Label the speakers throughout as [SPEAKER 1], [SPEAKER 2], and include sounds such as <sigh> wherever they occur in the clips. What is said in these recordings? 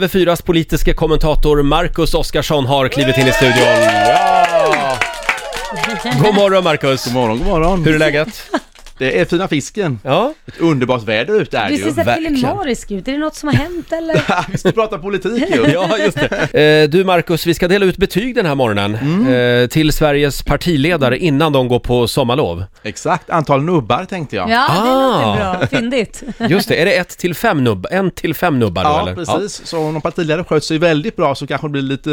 [SPEAKER 1] TV4s politiska kommentator Marcus Oskarsson har klivit in i studion. Ja! God morgon Marcus!
[SPEAKER 2] God morgon, god morgon.
[SPEAKER 1] Hur är läget?
[SPEAKER 2] Det är fina fisken.
[SPEAKER 1] Ja,
[SPEAKER 2] Ett underbart väder ute är det
[SPEAKER 3] Du ser
[SPEAKER 2] ju.
[SPEAKER 3] så här
[SPEAKER 1] verkligen.
[SPEAKER 3] filimarisk ut. Är det något som har
[SPEAKER 1] <laughs>
[SPEAKER 3] hänt eller?
[SPEAKER 2] <laughs> Vi ska prata politik
[SPEAKER 3] <laughs>
[SPEAKER 2] ju.
[SPEAKER 1] ja just det. Eh, Du Marcus, vi ska dela ut betyg den här morgonen
[SPEAKER 2] Mm.
[SPEAKER 1] eh, till Sveriges partiledare innan de går på sommarlov.
[SPEAKER 2] Exakt, antal nubbar tänkte jag.
[SPEAKER 3] Ja, det
[SPEAKER 1] Ah.
[SPEAKER 3] låter bra. Fyndigt.
[SPEAKER 1] Just det, är det ett till fem nubb, en till fem nubbar då
[SPEAKER 2] Ja,
[SPEAKER 1] eller?
[SPEAKER 2] precis. Så om någon partiledare sköter sig väldigt bra så kanske det blir lite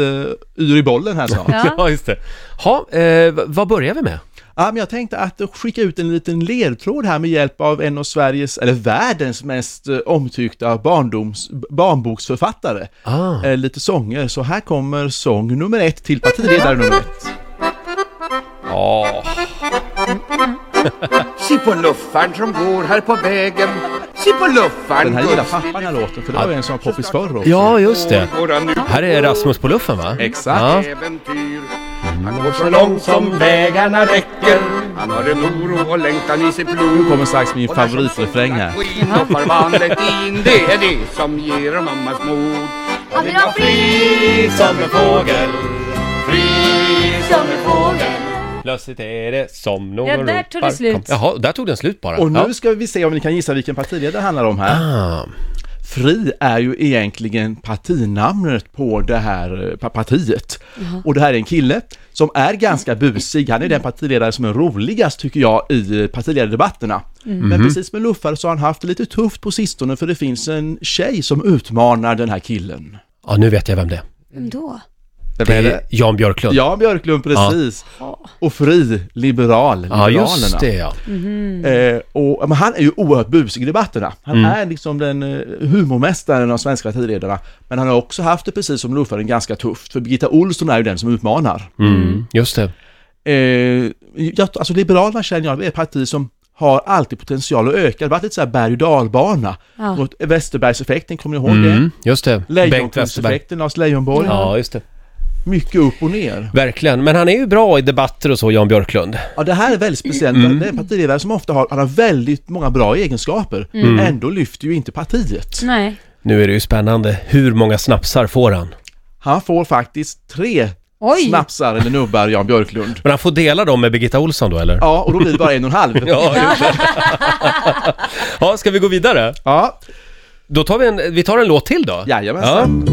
[SPEAKER 2] eh, yr i bollen här snart.
[SPEAKER 1] <laughs>
[SPEAKER 3] Ja.
[SPEAKER 1] Ja, <laughs> ja just det. Ha, eh, v- vad börjar vi med?
[SPEAKER 2] Ja, men jag tänkte att skicka ut en liten ledtråd här med hjälp av en av Sveriges, eller världens mest eh, omtyckta barndoms, barnboksförfattare.
[SPEAKER 1] Ah.
[SPEAKER 2] Eh, Lite sånger, så här kommer sång nummer ett till partiledare nummer ett.
[SPEAKER 1] Ja,
[SPEAKER 4] Se på luffaren som går här på vägen. Se på luffaren.
[SPEAKER 2] Den här gillar pappan den här låten, för det var ju en som var poppis förr också.
[SPEAKER 1] ja just det.
[SPEAKER 4] Går han nu
[SPEAKER 1] Här är Rasmus på luffen va?
[SPEAKER 2] Exakt.
[SPEAKER 1] Ja.
[SPEAKER 4] äventyr. Han går så långt som vägarna räcker. Han har en oro och längtan i sitt
[SPEAKER 2] Nu
[SPEAKER 4] blod.
[SPEAKER 2] kommer strax min favoritrefräng här.
[SPEAKER 4] Skit och förvandlet in, det är det som ger mammas mod. Han vill ha fri som en fågel. Fri som en fågel.
[SPEAKER 1] Plötsligt är det som någon
[SPEAKER 3] Ja, där
[SPEAKER 1] ropar.
[SPEAKER 3] tog det slut.
[SPEAKER 1] Kom. Jaha, där tog den slut bara.
[SPEAKER 2] Och nu
[SPEAKER 1] Ja.
[SPEAKER 2] ska vi se om ni kan gissa vilken partiledare det handlar om här.
[SPEAKER 1] Ah,
[SPEAKER 2] Fri är ju egentligen partinamnet på det här eh, pa- partiet. Och det här är en kille som är ganska busig. Han är den partiledare som är roligast tycker jag i eh, partiledardebatterna. Men precis med Luffar så har han haft det lite tufft på sistone för det finns en tjej som utmanar den här killen.
[SPEAKER 1] ja, nu vet jag vem det är.
[SPEAKER 3] Vem då?
[SPEAKER 1] Det är Jan Björklund.
[SPEAKER 2] Ja, Björklund, precis. Och Fri, liberal,
[SPEAKER 1] Ja,
[SPEAKER 2] liberalerna.
[SPEAKER 1] just det ja.
[SPEAKER 2] Eh, och, ja, men han är ju oerhört busig i debatterna. Han är liksom den eh, humormästaren av svenska partiledarna. Men han har också haft det precis som Luffaren ganska tufft. För Birgitta Olsson är ju den som utmanar.
[SPEAKER 1] Mm, just det.
[SPEAKER 2] Eh, jag, alltså Liberalerna känner jag är ett parti som har alltid potential att öka. Det har varit lite så här berg och dalbana.
[SPEAKER 3] Ja.
[SPEAKER 2] Mot Westerbergseffekten, kommer ni ihåg det?
[SPEAKER 1] Mm, just det. Bengt Westerberg.
[SPEAKER 2] Lejonkungseffekten, Lars Leijonborg.
[SPEAKER 1] Ja, just det.
[SPEAKER 2] Mycket upp och ner.
[SPEAKER 1] Verkligen. Men han är ju bra i debatter och så, Jan Björklund.
[SPEAKER 2] Ja, det här är väldigt speciellt. Det är en partiledare som ofta har, han har väldigt många bra egenskaper. Ändå lyfter ju inte partiet.
[SPEAKER 3] Nej.
[SPEAKER 1] Nu är det ju spännande. Hur många snapsar får han?
[SPEAKER 2] Han får faktiskt tre
[SPEAKER 3] Oj.
[SPEAKER 2] snapsar eller nubbar, Jan Björklund.
[SPEAKER 1] Men han får dela dem med Birgitta Olsson då, eller?
[SPEAKER 2] Ja, och då blir det bara en och en halv.
[SPEAKER 1] <laughs> Ja, just det. ja, ska vi gå vidare?
[SPEAKER 2] Ja,
[SPEAKER 1] Då tar vi en, vi tar en låt till då.
[SPEAKER 2] Jajamensan.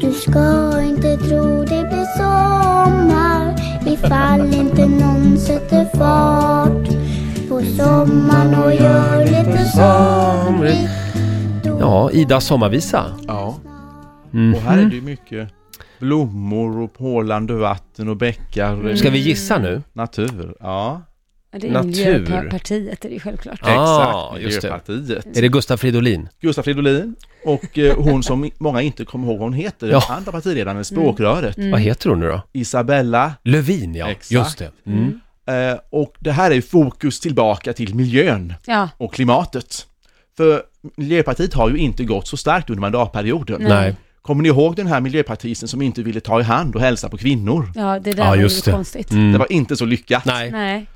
[SPEAKER 5] Du ska inte tro det blir sommar ifall inte någon sätter fart på sommaren och gör lite somrigt.
[SPEAKER 1] Ja, Ida sommarvisa.
[SPEAKER 2] ja.
[SPEAKER 1] Mhm.
[SPEAKER 2] Och här är det ju mycket blommor och pålande vatten och bäckar. eh,
[SPEAKER 1] Ska vi gissa nu?
[SPEAKER 2] Natur, ja.
[SPEAKER 3] Ja, Det är
[SPEAKER 1] Natur.
[SPEAKER 3] Miljöpartiet, är det ju självklart.
[SPEAKER 1] Ah,
[SPEAKER 2] Exakt,
[SPEAKER 1] just det.
[SPEAKER 2] Miljöpartiet.
[SPEAKER 1] Är det Gustaf Fridolin?
[SPEAKER 2] Gustaf Fridolin och eh, hon som många inte kommer ihåg vad hon heter,
[SPEAKER 1] Ja. Mm.
[SPEAKER 2] den andra partiledaren, språkröret,
[SPEAKER 1] Vad heter hon nu då?
[SPEAKER 2] Isabella.
[SPEAKER 1] Lövin ja,
[SPEAKER 2] Exakt.
[SPEAKER 1] just det. Mm.
[SPEAKER 2] Eh, och det här är ju fokus tillbaka till miljön.
[SPEAKER 3] Ja,
[SPEAKER 2] och klimatet. För Miljöpartiet har ju inte gått så starkt under mandatperioden.
[SPEAKER 3] Nej.
[SPEAKER 1] Nej.
[SPEAKER 2] Kommer ni ihåg den här miljöpartisten som inte ville ta i hand och hälsa på kvinnor?
[SPEAKER 3] ja det där
[SPEAKER 1] Ja,
[SPEAKER 3] var ju
[SPEAKER 1] just det. Mm.
[SPEAKER 3] konstigt.
[SPEAKER 2] Det var inte så lyckat.
[SPEAKER 1] Nej.
[SPEAKER 3] Nej.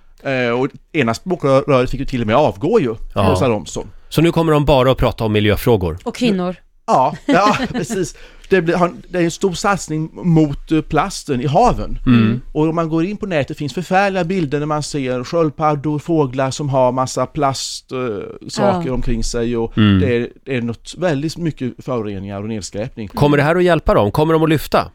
[SPEAKER 2] Eh, och ena språkröret fick ju till och med avgå ju,
[SPEAKER 1] Ja.
[SPEAKER 2] Åsa Romson.
[SPEAKER 1] Så nu kommer de bara att prata om miljöfrågor.
[SPEAKER 3] Och kvinnor.
[SPEAKER 2] Ja, ja precis. Det, blir, han- det är en stor satsning mot eh, plasten i haven.
[SPEAKER 1] Mm.
[SPEAKER 2] Och om man går in på nätet finns förfärliga bilder när man ser sköldpaddor, fåglar som har massa plastsaker eh, saker
[SPEAKER 3] Ja.
[SPEAKER 2] omkring sig och
[SPEAKER 1] Mm.
[SPEAKER 2] det, är, det är något väldigt mycket föroreningar och nedskräpning.
[SPEAKER 1] Kommer det här att hjälpa dem? Kommer de att lyfta?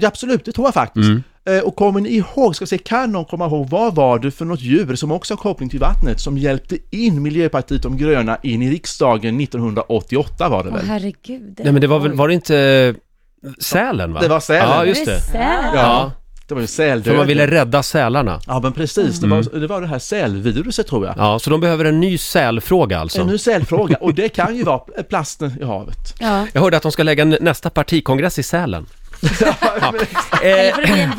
[SPEAKER 2] Ja, absolut, det tror jag faktiskt.
[SPEAKER 1] Mm.
[SPEAKER 2] Eh, Och kommer ni ihåg, ska vi se, kan någon komma ihåg, vad var det för något djur som också har koppling till vattnet som hjälpte in Miljöpartiet de gröna in i riksdagen 1988 var det
[SPEAKER 3] Åh
[SPEAKER 2] väl?
[SPEAKER 3] herregud.
[SPEAKER 1] Nej men det var väl,
[SPEAKER 3] Oj.
[SPEAKER 1] var det inte eh, sälen va?
[SPEAKER 2] Det var sälen.
[SPEAKER 1] Ja just det.
[SPEAKER 3] Säl.
[SPEAKER 1] Ja,
[SPEAKER 2] Det var ju
[SPEAKER 1] för
[SPEAKER 2] säldöden.
[SPEAKER 1] man ville rädda sälarna.
[SPEAKER 2] Ja men precis, det, var, det var det här sälviruset tror jag.
[SPEAKER 1] Ja, så de behöver en ny sälfråga alltså.
[SPEAKER 2] En ny sälfråga, och det kan ju vara plasten i havet.
[SPEAKER 3] Ja.
[SPEAKER 1] Jag hörde att de ska lägga n- nästa partikongress i <laughs> Sälen. Eh,
[SPEAKER 3] Eller får det bli en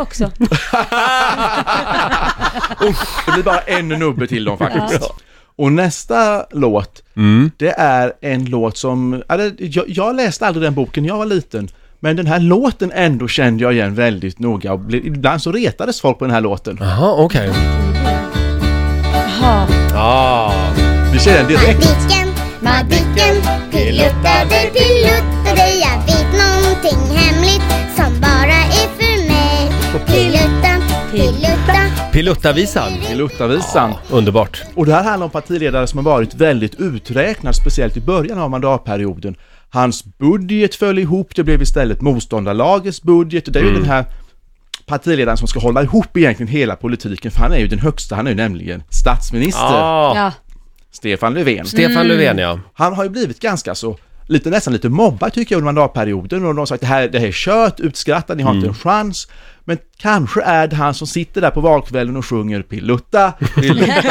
[SPEAKER 1] <laughs>
[SPEAKER 3] också?
[SPEAKER 2] Det blir bara en nubbe till dem faktiskt. Och nästa låt, det är en låt som, ja, det- jag, jag läste aldrig den boken när jag var liten, men den här låten ändå kände jag igen väldigt noga och blev- ibland så retades folk på den här låten.
[SPEAKER 1] Jaha, okej.
[SPEAKER 3] Jaha.
[SPEAKER 1] Ja,
[SPEAKER 2] Vi känner den direkt.
[SPEAKER 5] Madicken, Madicken, piluttade, piluttade ja
[SPEAKER 1] Pilottavisan.
[SPEAKER 2] Pilottavisan.
[SPEAKER 1] Underbart.
[SPEAKER 2] Och det här handlar om partiledare som har varit väldigt uträknad, speciellt i början av mandatperioden. Hans budget föll ihop, det blev istället motståndarlagets budget. Det är ju den här partiledaren som ska hålla ihop egentligen hela politiken, för han är ju den högsta, han är ju nämligen statsminister,
[SPEAKER 1] Ah,
[SPEAKER 3] Ja.
[SPEAKER 2] Stefan Löfven.
[SPEAKER 1] Stefan Löfven ja.
[SPEAKER 2] Han har ju blivit ganska så, lite, nästan lite mobbad tycker jag under mandatperioden och de har sagt det här, det här är kört, utskrattat, ni har inte en chans. Men kanske är det han som sitter där på valkvällen och sjunger Pilutta, Pilutta,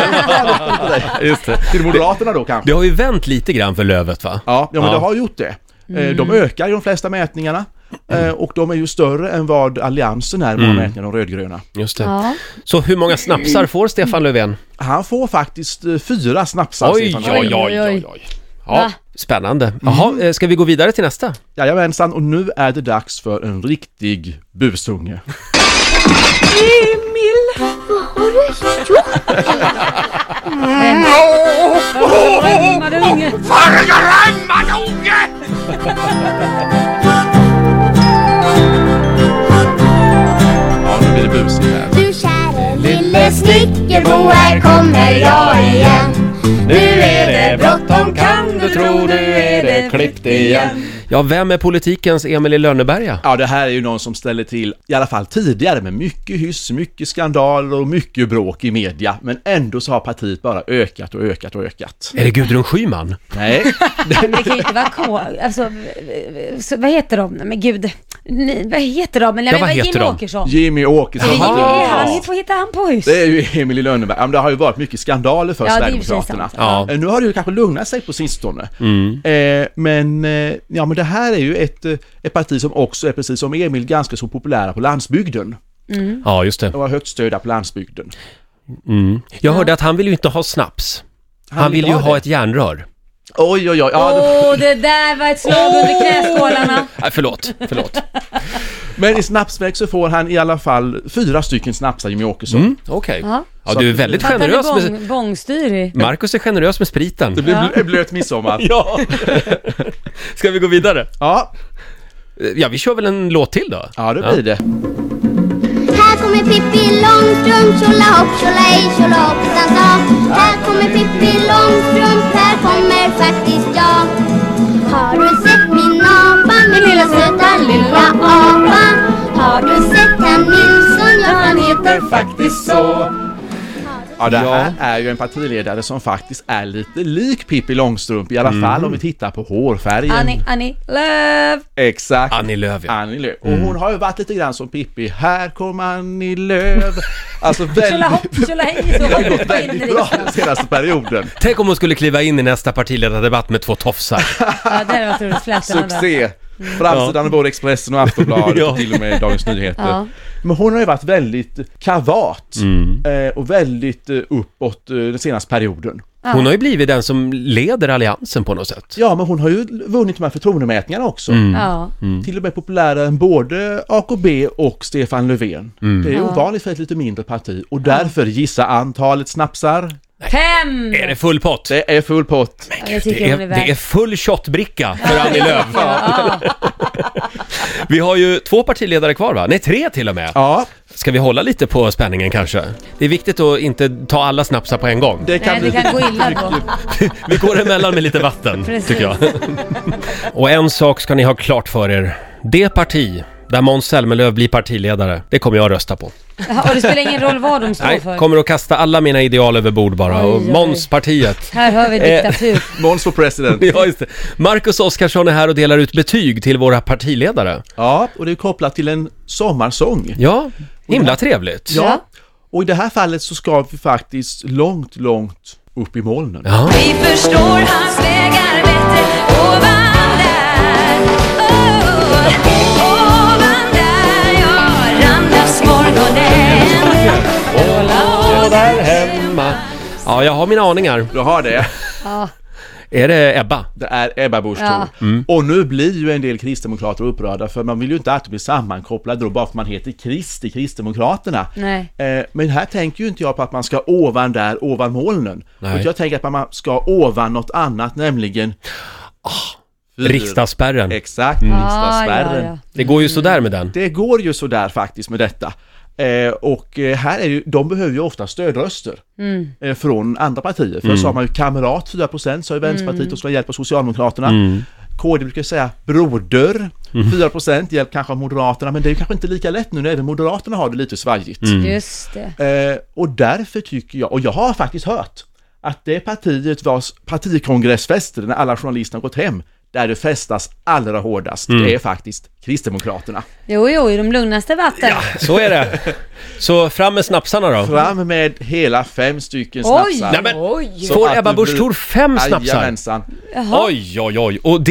[SPEAKER 1] Just det.
[SPEAKER 2] till Moderaterna då kanske.
[SPEAKER 1] Det har ju vänt lite grann för Lövet va?
[SPEAKER 2] Ja, ja men
[SPEAKER 1] Ja.
[SPEAKER 2] det har gjort det. Eh, De ökar i de flesta mätningarna eh, och de är ju större än vad Alliansen är i många mätningar, de rödgröna.
[SPEAKER 1] Just det.
[SPEAKER 3] Ja.
[SPEAKER 1] Så hur många snapsar får Stefan Löfven?
[SPEAKER 2] Han får faktiskt eh, fyra snapsar,
[SPEAKER 1] Oj,
[SPEAKER 2] Stefan
[SPEAKER 1] oj,
[SPEAKER 2] Löfven.
[SPEAKER 1] oj, oj, oj. Ja,
[SPEAKER 3] Va? Mm.
[SPEAKER 1] spännande. Jaha, eh, ska vi gå vidare till nästa?
[SPEAKER 2] Jajamensan, och nu är det dags för en riktig busunge.
[SPEAKER 5] Vad har du gjort?
[SPEAKER 3] Remmade unge.
[SPEAKER 2] Ja, nu blir det busigt här.
[SPEAKER 5] Du käre lille snickerbo, här kommer jag igen. Nu är det bråttom, kan du tro, nu är det klippt igen.
[SPEAKER 1] Ja, vem är politikens Emil i Lönneberga?
[SPEAKER 2] Ja, det här är ju någon som ställer till, i alla fall tidigare, med mycket hyss, mycket skandaler och mycket bråk i media. Men ändå så har partiet bara ökat och ökat och ökat.
[SPEAKER 1] Är det Gudrun Schyman?
[SPEAKER 2] <laughs> Nej,
[SPEAKER 3] Det kan ju inte vara K. Alltså, eh, så, vad heter de? Nej, Men gud. Ni, vad heter de? Men,
[SPEAKER 1] Ja,
[SPEAKER 3] nej,
[SPEAKER 1] vad
[SPEAKER 3] men
[SPEAKER 1] heter
[SPEAKER 3] Jimmy
[SPEAKER 1] de?
[SPEAKER 3] Åkesson.
[SPEAKER 2] Jimmy Åkesson
[SPEAKER 3] Jimmy,
[SPEAKER 2] hade-
[SPEAKER 3] han, hur får hitta han på hus?
[SPEAKER 2] Det är ju <laughs> Emil i Lönneberga. Ja, men Det har ju varit mycket skandaler för
[SPEAKER 3] Ja, det är ju
[SPEAKER 2] Sverigedemokraterna.
[SPEAKER 3] precis
[SPEAKER 1] sant. Ja.
[SPEAKER 2] Eh, Nu har det ju kanske lugnat sig på sistone.
[SPEAKER 1] Mm.
[SPEAKER 2] Eh, men, eh, ja, men det här är ju ett, eh, ett parti som också är, precis som Emil, ganska så populära på landsbygden.
[SPEAKER 1] Ja, just det.
[SPEAKER 2] Och har högt stöd där på landsbygden.
[SPEAKER 1] Mm. Jag hörde att han vill ju inte ha snaps. Han vill ju ha ett järnrör.
[SPEAKER 2] Oj, oj, oj. Ja, det...
[SPEAKER 3] Åh, det där var ett slag under knäskålarna.
[SPEAKER 1] Nej, förlåt, förlåt.
[SPEAKER 2] Men i snapsväg så får han i alla fall fyra stycken snapsar, Jimmy Åkesson.
[SPEAKER 1] <laughs> Okej.
[SPEAKER 3] Ja.
[SPEAKER 1] Ja, du är väldigt
[SPEAKER 3] Fattar du
[SPEAKER 1] generös med...
[SPEAKER 3] bång, bångstyrig?
[SPEAKER 1] Marcus är generös med spriten.
[SPEAKER 2] Det blir bl- blöt midsommar.
[SPEAKER 1] <laughs> Ja! <laughs> Ska vi gå vidare?
[SPEAKER 2] Ja,
[SPEAKER 1] Ja, vi kör väl en låt till då?
[SPEAKER 2] ja det blir det.
[SPEAKER 5] Här kommer Pippi Långstrump, tjolahopp, tjolahej, tjolahoppsan sa. Här kommer Pippi Långstrump, här kommer faktiskt jag. Har du sett min apa, min lilla söta lilla apa? Har du sett herr Nilsson, ja han heter
[SPEAKER 2] faktiskt så. Ja, det här är ju en partiledare som faktiskt är lite lik Pippi Långstrump, i alla fall om vi tittar på hårfärgen.
[SPEAKER 3] Annie, Annie, Lööf!
[SPEAKER 2] Exakt.
[SPEAKER 1] Annie Lööf, ja.
[SPEAKER 2] Annie Lööf. Och hon har ju varit lite grann som Pippi. Här kommer Annie Lööf. Alltså väldigt...
[SPEAKER 3] Tjolahopp, tjolahej, så
[SPEAKER 2] Det har gått
[SPEAKER 3] hoppa in i
[SPEAKER 2] väldigt bra
[SPEAKER 3] riksdagen.
[SPEAKER 2] den senaste perioden.
[SPEAKER 1] Tänk om hon skulle kliva in i nästa partiledardebatt med två
[SPEAKER 3] <laughs>
[SPEAKER 1] tofsar.
[SPEAKER 3] Ja, där var otroligt flätorna.
[SPEAKER 2] Succé! Framsidan av både Expressen och <laughs> Aftonbladet
[SPEAKER 1] Ja.
[SPEAKER 2] och till och med Dagens Nyheter.
[SPEAKER 3] Ja.
[SPEAKER 2] Men hon har ju varit väldigt kavat eh, och väldigt eh, uppåt eh, den senaste perioden.
[SPEAKER 1] Hon har ju blivit den som leder alliansen på något sätt.
[SPEAKER 2] Ja, men hon har ju vunnit de här förtroendemätningarna också.
[SPEAKER 1] Mm.
[SPEAKER 3] Ja.
[SPEAKER 2] Till och med populärare än både AKB och Stefan Löfven.
[SPEAKER 1] Mm.
[SPEAKER 2] Det är ovanligt för ett lite mindre parti och därför gissa antalet snapsar.
[SPEAKER 3] Fem!
[SPEAKER 1] Är det full pott?
[SPEAKER 2] Det är full pott.
[SPEAKER 3] Ja, Jag
[SPEAKER 1] Det
[SPEAKER 3] tycker
[SPEAKER 1] är,
[SPEAKER 3] hon är värd.
[SPEAKER 1] det är full shotbricka för Annie Lööf.
[SPEAKER 3] Ja, ja.
[SPEAKER 1] <laughs> Vi har ju två partiledare kvar va? Nej, tre till och med.
[SPEAKER 2] Ja,
[SPEAKER 1] Ska vi hålla lite på spänningen kanske? Det är viktigt att inte ta alla snapsar på en gång.
[SPEAKER 2] det kan
[SPEAKER 3] Nej,
[SPEAKER 2] bli...
[SPEAKER 3] det kan gå illa
[SPEAKER 2] <laughs>
[SPEAKER 3] då.
[SPEAKER 1] Vi går emellan med lite vatten,
[SPEAKER 3] <laughs> Precis.
[SPEAKER 1] tycker jag. <laughs> Och en sak ska ni ha klart för er. Det parti där Måns Zelmerlöw blir partiledare, det kommer jag rösta på.
[SPEAKER 3] Ja, Och det spelar ingen roll vad de står
[SPEAKER 1] Nej,
[SPEAKER 3] för.
[SPEAKER 1] kommer att kasta alla mina ideal över bord bara.
[SPEAKER 3] Oj,
[SPEAKER 1] Och
[SPEAKER 3] oj, oj.
[SPEAKER 1] Måns-partiet.
[SPEAKER 3] Här hör vi
[SPEAKER 2] Eh,
[SPEAKER 3] diktatur.
[SPEAKER 2] Måns for president.
[SPEAKER 1] <laughs> Ja, just det. Marcus Oskarsson är här och delar ut betyg till våra partiledare.
[SPEAKER 2] Ja, och det är kopplat till en sommarsång.
[SPEAKER 1] Ja, himla trevligt.
[SPEAKER 2] Ja.
[SPEAKER 3] Ja.
[SPEAKER 2] Och i det här fallet så ska vi faktiskt långt, långt upp i molnen.
[SPEAKER 1] Ja.
[SPEAKER 6] Vi förstår hans vägar bättre ovan där oh, Ovan där, ja, randas morgonen
[SPEAKER 1] där hemma. Ja, jag har mina aningar.
[SPEAKER 2] Du har det.
[SPEAKER 1] Är det Ebba?
[SPEAKER 2] Det är Ebba Busch
[SPEAKER 3] Ja.
[SPEAKER 2] Thor. Och nu blir ju en del kristdemokrater upprörda för man vill ju inte alltid bli sammankopplad då bara för man heter Krist i Kristdemokraterna.
[SPEAKER 3] Nej.
[SPEAKER 2] Eh, Men här tänker ju inte jag på att man ska ovan där, ovan molnen.
[SPEAKER 1] Nej.
[SPEAKER 2] Utan jag tänker att man ska ovan något annat, nämligen... Oh,
[SPEAKER 1] Riksdagsspärren.
[SPEAKER 2] Exakt,
[SPEAKER 3] Ah, Ja,
[SPEAKER 2] riksdagsspärren.
[SPEAKER 3] ja, ja.
[SPEAKER 1] Det går ju sådär med den.
[SPEAKER 2] Det går ju sådär faktiskt med detta. Eh, Eh, och eh, här är ju, de behöver ju ofta stödröster eh, från andra partier. Först sa man ju Kamrat 4%, sa ju Vänsterpartiet och skulle ha hjälp av Socialdemokraterna. KD brukar säga broder, 4% hjälp kanske av Moderaterna, men det är ju kanske inte lika lätt nu när även Moderaterna har det lite svajigt.
[SPEAKER 3] Just det.
[SPEAKER 2] Eh, och därför tycker jag, och jag har faktiskt hört, att det partiet vars partikongressfester när alla journalister har gått hem, där det festas allra hårdast, det är faktiskt Kristdemokraterna.
[SPEAKER 3] Jo, jo, i de lugnaste vatten.
[SPEAKER 1] Så är
[SPEAKER 2] <laughs>
[SPEAKER 1] det. Så fram med snapsarna då.
[SPEAKER 2] Fram med hela fem stycken
[SPEAKER 3] Oj!
[SPEAKER 1] Nej,
[SPEAKER 2] snapsar.
[SPEAKER 1] men,
[SPEAKER 3] Oj.
[SPEAKER 1] får
[SPEAKER 2] att
[SPEAKER 1] Ebba
[SPEAKER 2] du
[SPEAKER 1] Busch
[SPEAKER 2] blir-
[SPEAKER 1] Thor fem snapsar?
[SPEAKER 2] Jajamensan.
[SPEAKER 1] Oj, oj, oj. Och det